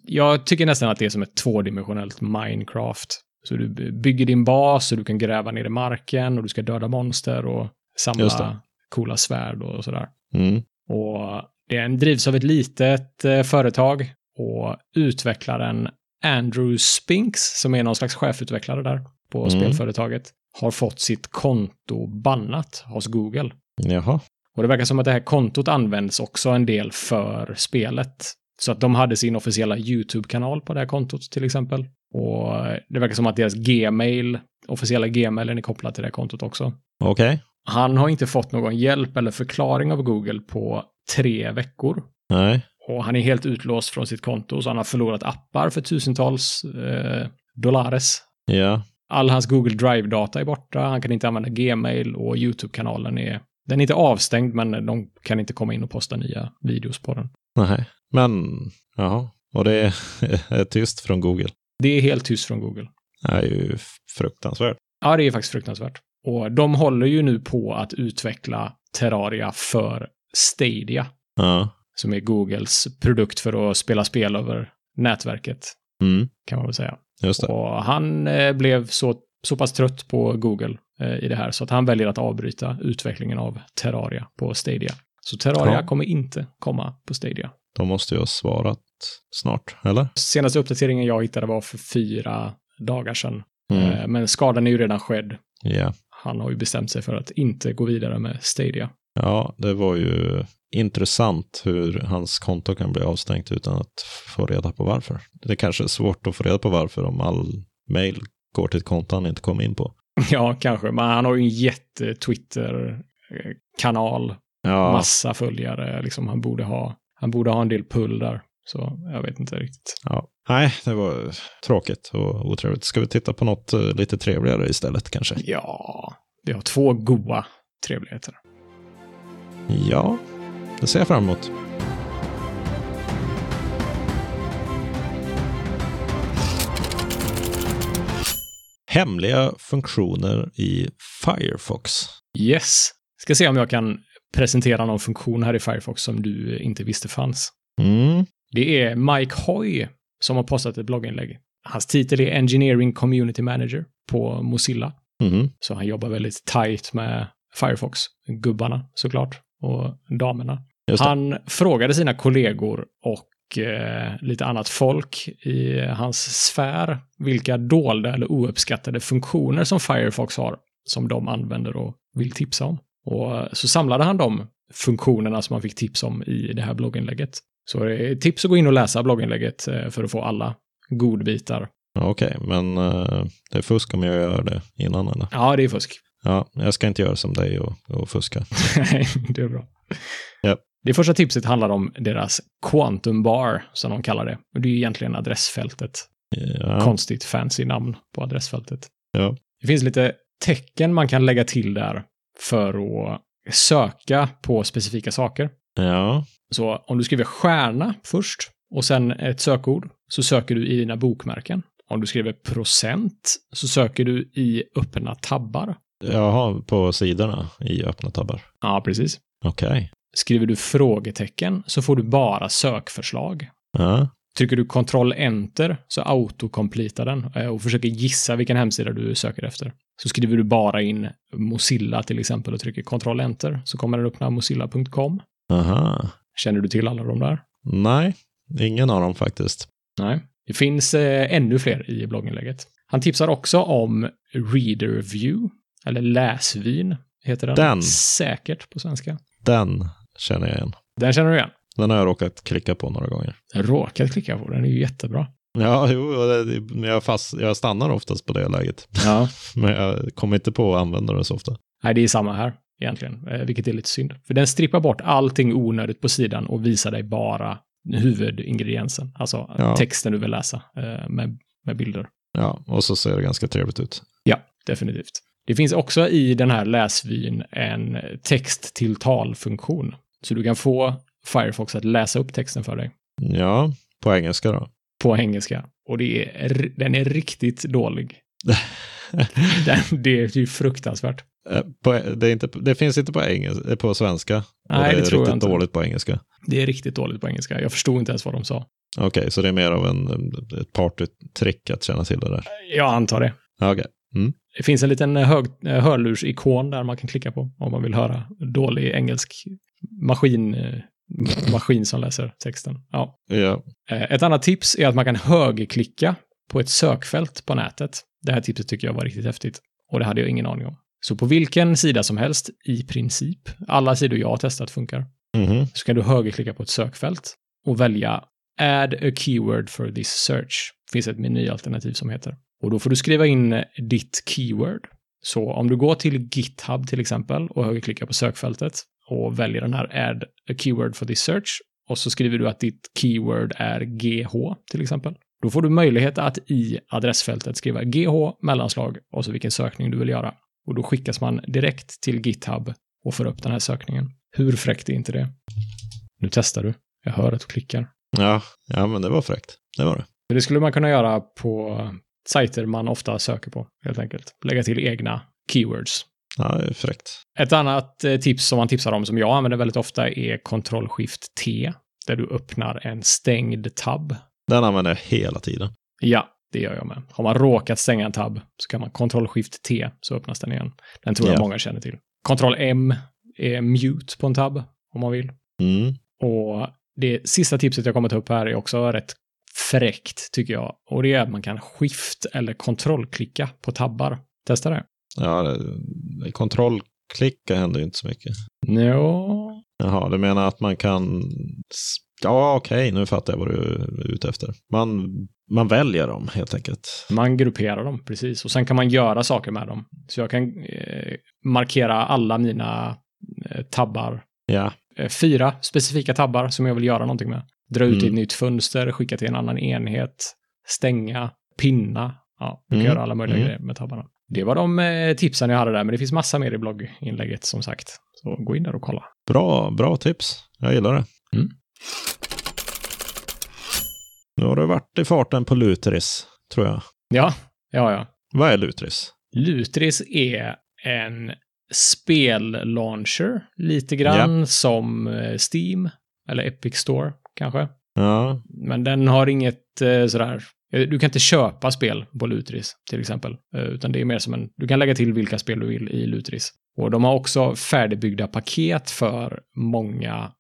Speaker 1: Jag tycker nästan att det är som ett tvådimensionellt Minecraft. Så du by- bygger din bas och du kan gräva ner i marken och du ska döda monster och
Speaker 2: Just det.
Speaker 1: samla coola svärd och sådär.
Speaker 2: Mm.
Speaker 1: Och den drivs av ett litet eh, företag och utvecklaren Andrew Spinks, som är någon slags chefutvecklare där på
Speaker 2: Mm.
Speaker 1: spelföretaget, har fått sitt konto bannat hos Google.
Speaker 2: Jaha.
Speaker 1: Och det verkar som att det här kontot används också en del för spelet. Så att de hade sin officiella YouTube-kanal på det här kontot till exempel. Och det verkar som att deras Gmail, officiella Gmailen är kopplad till det här kontot också.
Speaker 2: Okej.
Speaker 1: Han har inte fått någon hjälp eller förklaring av Google på tre veckor.
Speaker 2: Nej.
Speaker 1: Och han är helt utlåst från sitt konto, så han har förlorat appar för tusentals eh, dollares.
Speaker 2: Ja.
Speaker 1: All hans Google Drive-data är borta, han kan inte använda Gmail och YouTube-kanalen är... Den är inte avstängd, men de kan inte komma in och posta nya videos på den.
Speaker 2: Nej. Men, jaha. Och det är, är tyst från Google.
Speaker 1: Det är helt tyst från Google.
Speaker 2: Det är ju fruktansvärt.
Speaker 1: Ja, det är faktiskt fruktansvärt. Och de håller ju nu på att utveckla Terraria för Stadia,
Speaker 2: Ja.
Speaker 1: som är Googles produkt för att spela spel över nätverket,
Speaker 2: Mm.
Speaker 1: kan man väl säga.
Speaker 2: Just det.
Speaker 1: Och han eh, blev så, så pass trött på Google eh, i det här så att han väljer att avbryta utvecklingen av Terraria på Stadia. Så Terraria
Speaker 2: Ja.
Speaker 1: kommer inte komma på Stadia.
Speaker 2: De måste ju ha svarat snart, eller?
Speaker 1: Senaste uppdateringen jag hittade var för fyra dagar sedan.
Speaker 2: Mm.
Speaker 1: Eh, Men skadan är ju redan skedd.
Speaker 2: Ja.
Speaker 1: Han har ju bestämt sig för att inte gå vidare med Stadia. <laughs>
Speaker 2: Ja, det var ju intressant hur hans konto kan bli avstängt utan att få reda på varför. Det kanske är svårt att få reda på varför om all mail går till ett konto han inte kom in på.
Speaker 1: Ja, kanske. Men han har ju en jätte Twitter-kanal.
Speaker 2: Ja,
Speaker 1: Massa följare. Liksom han, borde ha, han borde ha en del pull där. Så jag vet inte riktigt.
Speaker 2: ja. Nej, det var tråkigt och otrevligt. Ska vi titta på något eh, lite trevligare istället kanske?
Speaker 1: Ja, vi har två goa trevligheter.
Speaker 2: Ja, det ser jag fram emot. Hemliga funktioner i Firefox.
Speaker 1: Yes. Ska se om jag kan presentera någon funktion här i Firefox som du inte visste fanns.
Speaker 2: Mm.
Speaker 1: Det är Mike Hoy som har postat ett blogginlägg. Hans titel är Engineering Community Manager på Mozilla.
Speaker 2: Mhm.
Speaker 1: Så han jobbar väldigt tight med Firefox, gubbarna såklart, och damerna.
Speaker 2: Just det.
Speaker 1: Han frågade sina kollegor och eh, lite annat folk i hans sfär vilka dolda eller ouppskattade funktioner som Firefox har som de använder och vill tipsa om. Och eh, så samlade han de funktionerna som han fick tips om i det här blogginlägget. Så det är ett tips att gå in och läsa blogginlägget eh, för att få alla godbitar.
Speaker 2: Ja, Okej, men eh, det är fusk om jag gör det innan eller?
Speaker 1: Ja, det är fusk. <laughs>
Speaker 2: Ja, jag ska inte göra som dig och, och fuska.
Speaker 1: Nej, det är bra.
Speaker 2: Ja.
Speaker 1: Det första tipset handlar om deras quantum bar, som de kallar det. Och det är ju egentligen adressfältet.
Speaker 2: Ja,
Speaker 1: Konstigt fancy namn på adressfältet.
Speaker 2: Ja.
Speaker 1: Det finns lite tecken man kan lägga till där för att söka på specifika saker.
Speaker 2: ja,
Speaker 1: Så om du skriver stjärna först och sen ett sökord så söker du i dina bokmärken. Om du skriver procent så söker du i öppna tabbar.
Speaker 2: jaha, på sidorna i öppna tabbar.
Speaker 1: Ja, precis.
Speaker 2: Okej.
Speaker 1: Skriver du frågetecken så får du bara sökförslag.
Speaker 2: Ja,
Speaker 1: Trycker du kontroll enter så autocompletar den eh, och försöker gissa vilken hemsida du söker efter. Så skriver du bara in Mozilla till exempel och trycker kontroll enter så kommer den öppna mozilla.com.
Speaker 2: aha.
Speaker 1: Känner du till alla de där?
Speaker 2: Nej, ingen av dem faktiskt.
Speaker 1: Nej. Det finns eh, ännu fler i blogginlägget. Han tipsar också om Reader View, eller Läsvyn heter den.
Speaker 2: Den.
Speaker 1: Säkert på svenska.
Speaker 2: Den känner jag igen.
Speaker 1: Den känner du igen.
Speaker 2: Den har jag råkat klicka på några gånger.
Speaker 1: Råkat klicka på, den är ju jättebra.
Speaker 2: Ja, jo, det- men jag, fast, jag stannar oftast på det läget.
Speaker 1: Ja.
Speaker 2: Men jag kommer inte på att använda det så ofta.
Speaker 1: Nej, det är samma här egentligen, eh, vilket är lite synd. För den strippar bort allting onödigt på sidan och visar dig bara huvudingrediensen, alltså
Speaker 2: Ja.
Speaker 1: texten du vill läsa eh, med, med bilder.
Speaker 2: Ja, och så ser det ganska trevligt ut.
Speaker 1: Ja, definitivt. Det finns också i den här läsvyn en text till tal-funktion. Så du kan få Firefox att läsa upp texten för dig.
Speaker 2: Ja, på engelska då.
Speaker 1: på engelska. Och det är, den är riktigt dålig. den, det är ju fruktansvärt.
Speaker 2: Eh, På, det, är inte, det finns inte på, engelska, på svenska. och
Speaker 1: Nej,
Speaker 2: det är
Speaker 1: det tror jag
Speaker 2: riktigt
Speaker 1: inte.
Speaker 2: dåligt på engelska.
Speaker 1: Det är riktigt dåligt på engelska. Jag förstod inte ens vad de sa.
Speaker 2: Okej, så det är mer av en, ett partytrick att känna till det där.
Speaker 1: Jag antar det.
Speaker 2: Okej.
Speaker 1: Det finns en liten hög, eh, hörlursikon där man kan klicka på om man vill höra dålig engelsk maskin, eh, maskin som läser texten. Ja.
Speaker 2: Ja.
Speaker 1: Eh, Ett annat tips är att man kan högerklicka på ett sökfält på nätet. Det här tipset tycker jag var riktigt häftigt och det hade jag ingen aning om. Så på vilken sida som helst, i princip, alla sidor jag har testat funkar,
Speaker 2: Mhm.
Speaker 1: så kan du högerklicka på ett sökfält och välja Add a keyword for this search. Det finns ett menyalternativ som heter. Och då får du skriva in ditt keyword. Så om du går till GitHub till exempel och högerklickar på sökfältet och väljer den här Add a keyword for this search och så skriver du att ditt keyword är GH till exempel. Då får du möjlighet att i adressfältet skriva GH mellanslag och så vilken sökning du vill göra. Och då skickas man direkt till GitHub och får upp den här sökningen. Hur fräckt är inte det? Nu testar du. Jag hör att du klickar.
Speaker 2: Ja. ja, men det var fräckt. Det var det.
Speaker 1: Så det skulle man kunna göra på sajter man ofta söker på, helt enkelt. Lägga till egna keywords.
Speaker 2: Ja, det är fräckt.
Speaker 1: Ett annat eh, tips som man tipsar om, som jag använder väldigt ofta, är Ctrl-Shift-T, där du öppnar en stängd tab.
Speaker 2: Den använder jag hela tiden.
Speaker 1: Ja, det gör jag med. Har man råkat stänga en tab så kan man Ctrl-Shift-T, så öppnas den igen. Den tror jag
Speaker 2: Ja.
Speaker 1: många känner till. Ctrl-M är mute på en tab, om man vill.
Speaker 2: Mm.
Speaker 1: Och det sista tipset jag kommer ta upp här är också rätt fräckt tycker jag. Och det är att man kan skift eller kontrollklicka på tabbar. Testa det.
Speaker 2: Ja, det, det- kontrollklicka händer ju inte så mycket.
Speaker 1: Ja.
Speaker 2: Jaha, du menar att man kan... s- Ja, okej, nu fattar jag vad du är ute efter. Man, man väljer dem helt enkelt.
Speaker 1: Man grupperar dem, precis. Och sen kan man göra saker med dem. Så jag kan eh, markera alla mina eh, tabbar.
Speaker 2: Ja,
Speaker 1: Eh, fyra specifika tabbar som jag vill göra någonting med. Dra ut i ett
Speaker 2: Mm.
Speaker 1: nytt fönster, skicka till en annan enhet, stänga, pinna. Ja, du kan
Speaker 2: Mm.
Speaker 1: göra alla möjliga
Speaker 2: Mm.
Speaker 1: grejer med tabbarna. Det var de eh, tipsen jag hade där, men det finns massa mer i blogginlägget som sagt. Så gå in där och kolla.
Speaker 2: bra, bra tips. Jag gillar det.
Speaker 1: Mm.
Speaker 2: Nu har du varit i farten på Lutris, tror jag.
Speaker 1: Ja, ja, ja.
Speaker 2: Vad är Lutris?
Speaker 1: Lutris är en spellauncher, lite grann som eh, Steam eller Epic Store kanske.
Speaker 2: Ja,
Speaker 1: Men den har inget eh, sådär... eh, Du kan inte köpa spel på Lutris, till exempel. Eh, Utan det är mer som en... Du kan lägga till vilka spel du vill i Lutris. Och de har också färdigbyggda paket för många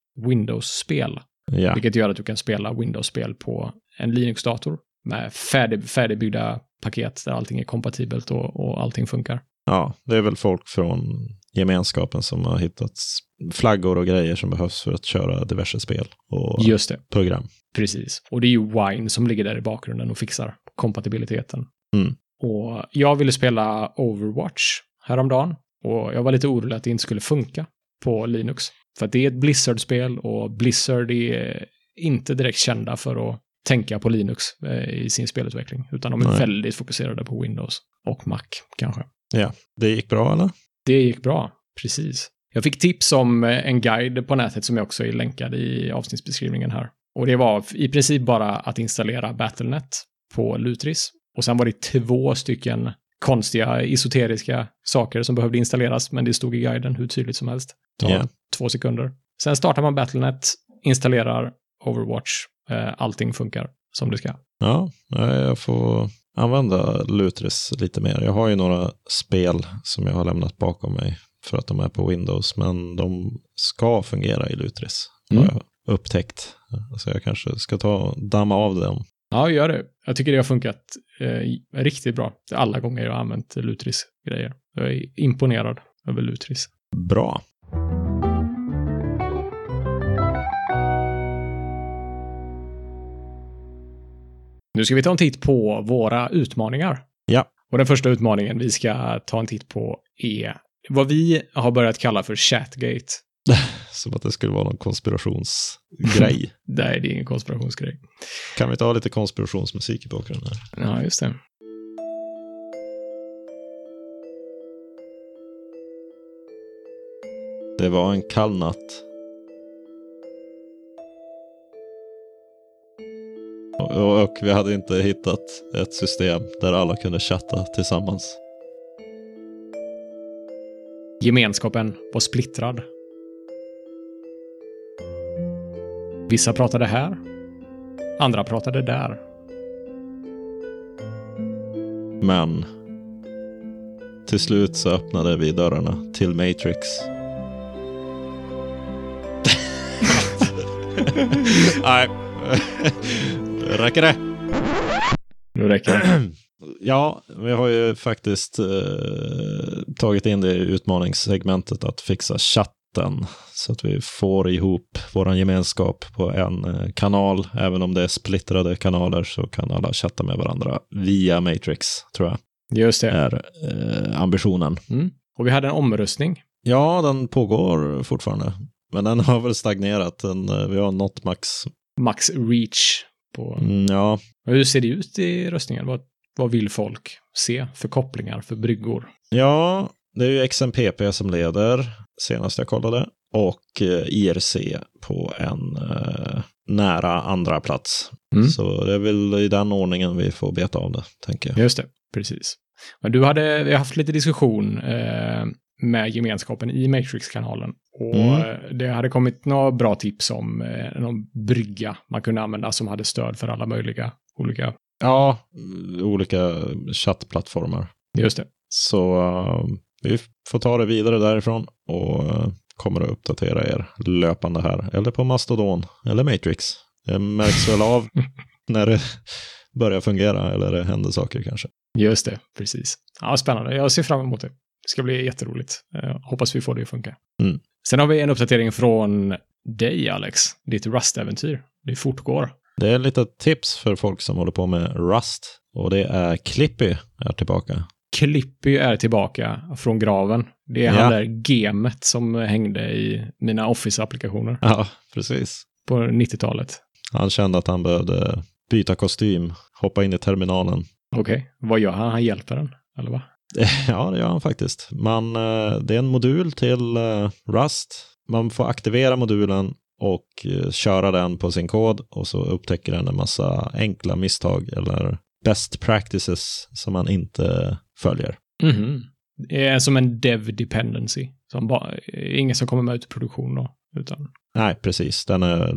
Speaker 1: Windows-spel.
Speaker 2: ja.
Speaker 1: Vilket gör att du kan spela Windows-spel på en Linux-dator. Med färdig, färdigbyggda paket där allting är kompatibelt och, och allting funkar.
Speaker 2: ja, det är väl folk från gemenskapen som har hittat s- flaggor och grejer som behövs för att köra diverse spel och
Speaker 1: Just det.
Speaker 2: program.
Speaker 1: Precis. Och det är ju Wine som ligger där i bakgrunden och fixar kompatibiliteten.
Speaker 2: Mm.
Speaker 1: Och jag ville spela Overwatch häromdagen och jag var lite orolig att det inte skulle funka på Linux. För att det är ett Blizzard-spel och Blizzard är inte direkt kända för att tänka på Linux eh, i sin spelutveckling, utan de är
Speaker 2: Nej.
Speaker 1: väldigt fokuserade på Windows och Mac kanske.
Speaker 2: Det gick bra, eller?
Speaker 1: Det gick bra, precis. Jag fick tips om eh, en guide på nätet som jag också är länkad i avsnittsbeskrivningen här. Och det var i princip bara att installera Battlenet på Lutris. Och sen var det två stycken konstiga esoteriska saker som behövde installeras, men det stod i guiden hur tydligt som helst. Tar
Speaker 2: Ja.
Speaker 1: två sekunder. Sen startar man Battlenet, installerar Overwatch, eh, allting funkar som det ska.
Speaker 2: Ja, nej, jag får använda Lutris lite mer. Jag har ju några spel som jag har lämnat bakom mig för att de är på Windows, men de ska fungera i Lutris.
Speaker 1: Mm.
Speaker 2: Har jag upptäckt. Så jag kanske ska ta och damma av dem.
Speaker 1: Ja, gör det. Jag tycker det har funkat eh, riktigt bra. Alla gånger jag har använt Lutris grejer. Jag är imponerad över Lutris.
Speaker 2: Bra.
Speaker 1: Nu ska vi ta en titt på våra utmaningar.
Speaker 2: Ja.
Speaker 1: Och den första utmaningen vi ska ta en titt på är vad vi har börjat kalla för Chatgate.
Speaker 2: Som att det skulle vara någon konspirationsgrej.
Speaker 1: Nej, det är ingen konspirationsgrej.
Speaker 2: kan vi inte ha lite konspirationsmusik i bakgrunden? Här?
Speaker 1: Ja, just det.
Speaker 2: Det var en kall natt. Och, och vi hade inte hittat ett system där alla kunde chatta tillsammans.
Speaker 1: Gemenskapen var splittrad. Vissa pratade här, andra pratade där.
Speaker 2: Men till slut så öppnade vi dörrarna till Matrix. Nej, räcker det?
Speaker 3: Nu räcker det.
Speaker 2: Ja, vi har ju faktiskt eh, tagit in det i utmaningssegmentet att fixa chatten så att vi får ihop vår gemenskap på en eh, kanal. Även om det är splittrade kanaler så kan alla chatta med varandra via Matrix, tror jag,
Speaker 1: Just det.
Speaker 2: är eh, ambitionen.
Speaker 1: Och vi hade en omröstning.
Speaker 2: Ja, den pågår fortfarande, men den <laughs> har väl stagnerat. Den, eh, vi har nått max.
Speaker 1: Max reach. På.
Speaker 2: Mm, ja,
Speaker 1: Och Hur ser det ut i röstningen? Vad, vad vill folk se för kopplingar, för bryggor?
Speaker 2: Ja, det är ju XMPP som leder senast jag kollade och eh, IRC på en eh, nära andra plats.
Speaker 1: Mm.
Speaker 2: Så det är väl i den ordningen vi får beta av det, tänker jag.
Speaker 1: Just det, precis. Men du hade, vi har haft lite diskussion eh, med gemenskapen i Matrix-kanalen. Och
Speaker 2: Mm.
Speaker 1: eh, det hade kommit några bra tips om eh, någon brygga man kunde använda som hade stöd för alla möjliga olika.
Speaker 2: Ja, mm, olika chattplattformar.
Speaker 1: Just det.
Speaker 2: Så eh, vi får ta det vidare därifrån och eh, kommer att uppdatera er löpande här. Eller på Mastodon eller Matrix. Det märks väl av när det börjar fungera eller det händer saker kanske.
Speaker 1: Just det, precis. Ja, spännande. Jag ser fram emot det. Det ska bli jätteroligt. Eh, hoppas vi får det att funka.
Speaker 2: Mm.
Speaker 1: Sen har vi en uppdatering från dig, Alex. Ditt Rust-äventyr. Det fortgår.
Speaker 2: Det är lite tips för folk som håller på med Rust. Och det är Clippy är tillbaka.
Speaker 1: Clippy är tillbaka från graven. Det är
Speaker 2: Ja.
Speaker 1: han där gemet som hängde i mina Office-applikationer
Speaker 2: Ja, precis.
Speaker 1: på 90-talet.
Speaker 2: Han kände att han behövde byta kostym, hoppa in i <laughs> terminalen.
Speaker 1: Okej, vad gör han? Han hjälper den, eller va?
Speaker 2: Ja, det gör han faktiskt. Man, eh, det är en modul till eh, Rust. Man får aktivera modulen och eh, köra den på sin kod och så upptäcker den en massa enkla misstag eller best practices som man inte följer.
Speaker 1: Mhm. Det är som en dev dependency. Som bara, ingen som kommer med ut i produktion då. Utan, <laughs>
Speaker 2: Nej, precis. Den, är,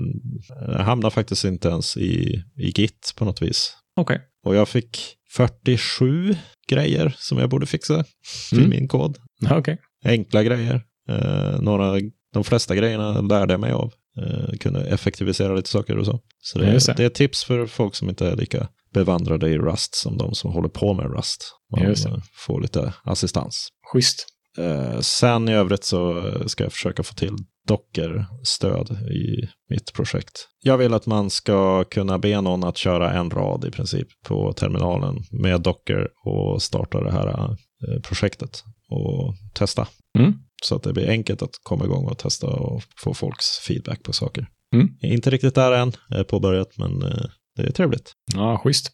Speaker 2: den hamnar faktiskt inte ens i, i Git på något vis.
Speaker 1: okej.
Speaker 2: Och jag fick 47 grejer som jag borde fixa till
Speaker 1: Mm.
Speaker 2: min kod.
Speaker 1: Ja, Okej.
Speaker 2: Enkla grejer. Eh, några, de flesta grejerna lärde jag mig av. Eh, kunde effektivisera lite saker och så. Så det,
Speaker 1: Ja, just det.
Speaker 2: det. är tips för folk som inte är lika bevandrade i Rust som de som håller på med Rust. Man
Speaker 1: Just det.
Speaker 2: eh, får lite assistans.
Speaker 1: Schysst.
Speaker 2: Eh, sen i övrigt så eh, ska jag försöka få till dockerstöd i mitt projekt. Jag vill att man ska kunna be någon att köra en rad i princip på terminalen med docker och starta det här eh, projektet och testa.
Speaker 1: Mm.
Speaker 2: Så att det blir enkelt att komma igång och testa och få folks feedback på saker.
Speaker 1: Mm.
Speaker 2: Jag är Inte riktigt där än, jag är påbörjat, men eh, det är trevligt.
Speaker 1: Ja, schysst.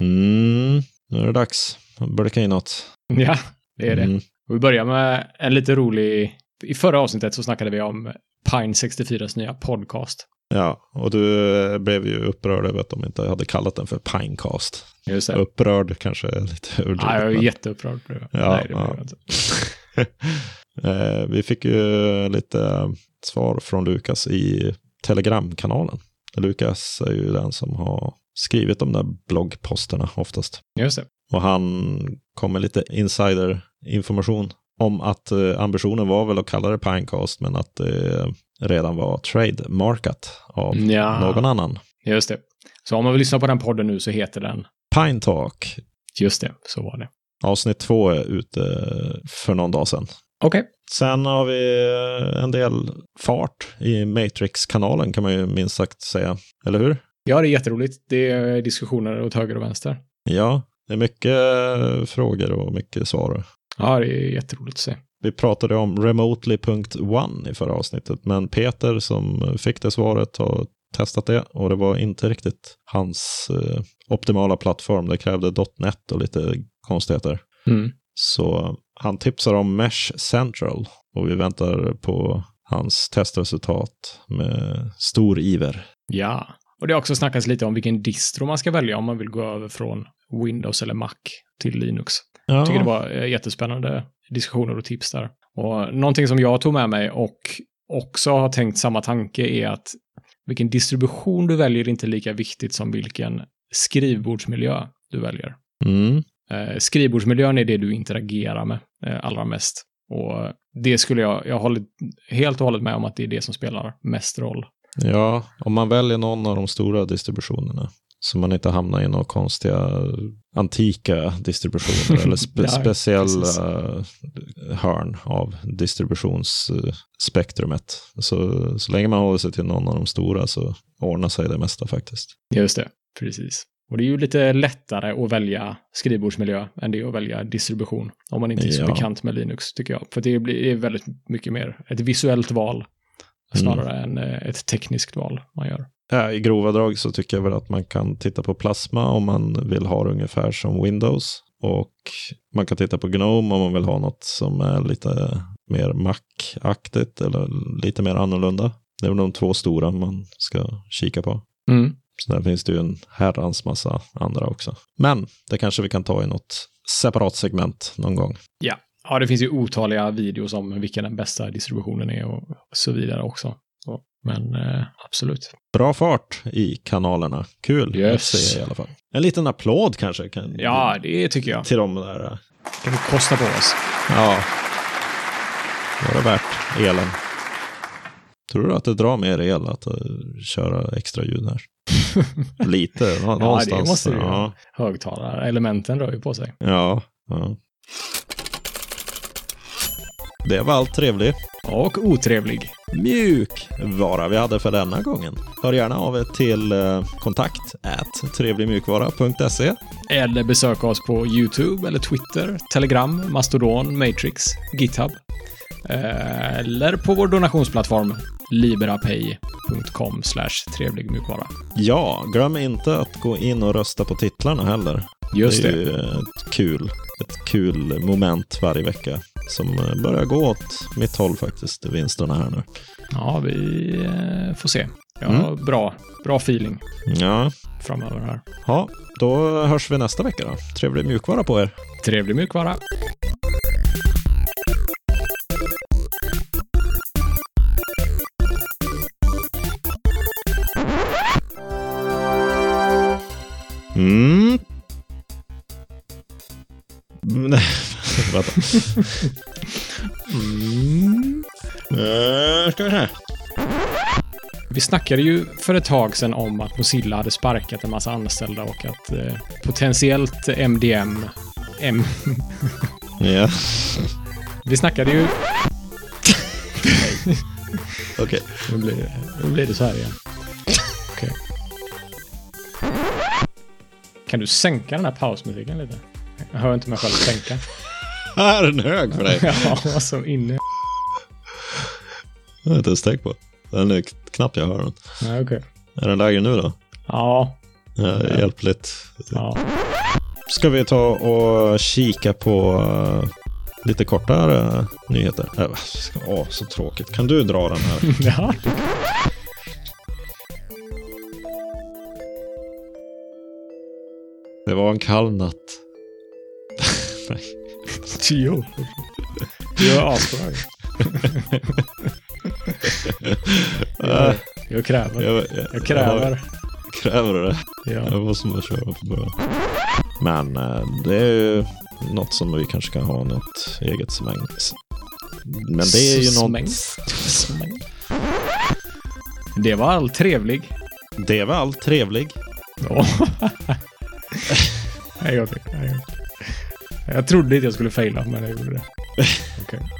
Speaker 2: Mm, nu är det dags att blicka inåt.
Speaker 1: Ja, det är det.
Speaker 2: Mm.
Speaker 1: Och vi börjar med en lite rolig... I förra avsnittet så snackade vi om Pine 64s nya podcast.
Speaker 2: Ja, och du eh, blev ju upprörd över att de inte hade kallat den för Pinecast.
Speaker 1: Just det.
Speaker 2: Upprörd kanske är lite överdrivet.
Speaker 1: Ja, jag är
Speaker 2: men-
Speaker 1: jätteupprörd på det.
Speaker 2: Ja,
Speaker 1: Nej, det blir
Speaker 2: ja.
Speaker 1: jag inte.
Speaker 2: <laughs> Eh, Vi fick ju lite svar från Lukas i Telegramkanalen. Lukas är ju den som har skrivit de där bloggposterna oftast.
Speaker 1: Just det.
Speaker 2: Och han kom med lite insiderinformation om att eh, ambitionen var väl att kalla det Pinecast, men att det redan var trademarkat av
Speaker 1: Ja.
Speaker 2: någon annan.
Speaker 1: Just det. Så om man vill lyssna på den podden nu så heter den...
Speaker 2: Pine Talk
Speaker 1: Just det, så var det.
Speaker 2: Avsnitt två är ute eh, för någon dag sedan.
Speaker 1: Okej.
Speaker 2: Sen har vi eh, en del fart i Matrix-kanalen kan man ju minst sagt säga. Eller hur?
Speaker 1: Ja, det är jätteroligt. Det är diskussioner åt höger och vänster.
Speaker 2: Ja, det är mycket eh, frågor och mycket svar.
Speaker 1: Ja, det är jätteroligt att se.
Speaker 2: Vi pratade om remotely.one i förra avsnittet, men Peter som fick det svaret har testat det och det var inte riktigt hans eh, optimala plattform. Det krävde .net och lite konstigheter.
Speaker 1: Mm.
Speaker 2: Så han tipsar om Mesh Central och vi väntar på hans testresultat med stor iver.
Speaker 1: Ja, och det har också snackats lite om vilken distro man ska välja om man vill gå över från Windows eller Mac till Linux.
Speaker 2: Ja,
Speaker 1: Jag tycker det var eh, jättespännande diskussioner och tips där. Och någonting som jag tog med mig och också har tänkt samma tanke är att vilken distribution du väljer är inte lika viktigt som vilken skrivbordsmiljö du väljer.
Speaker 2: mm.
Speaker 1: Eh, skrivbordsmiljön är det du interagerar med eh, allra mest. Och det skulle jag, jag håller helt och hållet med om att det är det som spelar mest roll.
Speaker 2: ja, om man väljer någon av de stora distributionerna så man inte hamnar i några konstiga antika distributioner
Speaker 1: <laughs>
Speaker 2: eller spe-
Speaker 1: Ja, precis.
Speaker 2: speciella eh, hörn av distributionsspektrumet. Så, så länge man håller sig till någon av de stora så ordnar sig det mesta faktiskt.
Speaker 1: Just det, precis. Och det är ju lite lättare att välja skrivbordsmiljö än det är att välja distribution. Om man inte är så
Speaker 2: Ja.
Speaker 1: bekant med Linux, tycker jag. För det blir det är väldigt mycket mer ett visuellt val snarare än eh, ett tekniskt val man gör.
Speaker 2: Ja, Äh, I grova drag så tycker jag väl att man kan titta på Plasma om man vill ha det ungefär som Windows. Och man kan titta på Gnome om man vill ha något som är lite mer Mac-aktigt eller lite mer annorlunda. Det är väl de två stora man ska kika på.
Speaker 1: Mm.
Speaker 2: Så där finns det ju en herrans massa andra också. Men det kanske vi kan ta i något separat segment någon gång.
Speaker 1: Ja, det finns ju otaliga videos om vilken den bästa distributionen är och så vidare också. Så, Men eh, absolut.
Speaker 2: Bra fart i kanalerna. Kul
Speaker 1: Yes.
Speaker 2: att se i alla fall. En liten applåd kanske kan
Speaker 1: Ja, det tycker jag.
Speaker 2: till de där. äh,
Speaker 1: kan vi kosta på oss.
Speaker 2: Ja. Var det värt elen? Tror du att det drar mer el att eh, köra extra ljud
Speaker 1: <laughs>
Speaker 2: här? Lite, nå-
Speaker 1: det
Speaker 2: någonstans.
Speaker 1: måste det ju
Speaker 2: ja.
Speaker 1: göra. Högtalarelementen rör ju på sig.
Speaker 2: ja, ja. Det var allt trevligt.
Speaker 1: Och otrevlig.
Speaker 2: Mjuk vara vi hade för denna gången. Hör gärna av er till eh, kontakt at trevligmjukvara.se.
Speaker 1: Eller besöka oss på YouTube, eller Twitter, Telegram, Mastodon, Matrix, GitHub. Eh, Eller på vår donationsplattform liberapay.com trevlig mjukvara.
Speaker 2: Ja, glöm inte att gå in och rösta på titlarna heller.
Speaker 1: Just
Speaker 2: det är
Speaker 1: det.
Speaker 2: ju ett kul, ett kul moment varje vecka som eh, börjar gå åt mitt håll faktiskt, vinsterna här nu.
Speaker 1: Ja, vi eh, får se. Jag har
Speaker 2: Mm.
Speaker 1: bra, bra feeling
Speaker 2: Ja,
Speaker 1: framöver här.
Speaker 2: ja då hörs vi nästa vecka då. Trevlig mjukvara på er.
Speaker 1: Trevlig mjukvara.
Speaker 2: Mm. <laughs> Nej, vänta. Mm. Eh, Ska vi se.
Speaker 1: Vi snackade ju för ett tag sedan om att Mozilla hade sparkat en massa anställda och att eh, potentiellt MDM... M... <laughs>
Speaker 2: Ja,
Speaker 1: Vi snackade ju...
Speaker 2: okej.
Speaker 1: Nu blir det, nu blir det så här igen. Okej. Kan du sänka den här pausmusiken lite? Jag hör inte mig själv sänka.
Speaker 2: Här är en hög för dig.
Speaker 1: <laughs> Ja, som inne.
Speaker 2: Jag har inte ens tänkt på. Den är knappt jag hör den.
Speaker 1: Ja, okej.
Speaker 2: Är den lägre nu då?
Speaker 1: Ja,
Speaker 2: Ja, hjälpligt.
Speaker 1: ja.
Speaker 2: Ska vi ta och kika på eh, lite kortare eh, nyheter? Äh, va, ska- Åh, så tråkigt. Kan du dra den här?
Speaker 1: <laughs> ja.
Speaker 2: Det var en kall natt. <laughs> Nej. <laughs>
Speaker 1: Jo. Du är asbra.
Speaker 2: Äh,
Speaker 1: Jag kräver.
Speaker 2: jag,
Speaker 1: Jag kräver.
Speaker 2: kräver det.
Speaker 1: Ja.
Speaker 2: Jag måste bara köra på början. Men eh, det är ju något som vi kanske kan ha något eget smäng. Men det är ju
Speaker 1: Smäng.
Speaker 2: något...
Speaker 1: Smäng. Det var allt trevlig.
Speaker 2: Det var allt trevlig.
Speaker 1: Ja. Nej, jag, fick, nej, jag, jag trodde inte jag skulle faila, men jag gjorde det. Okej.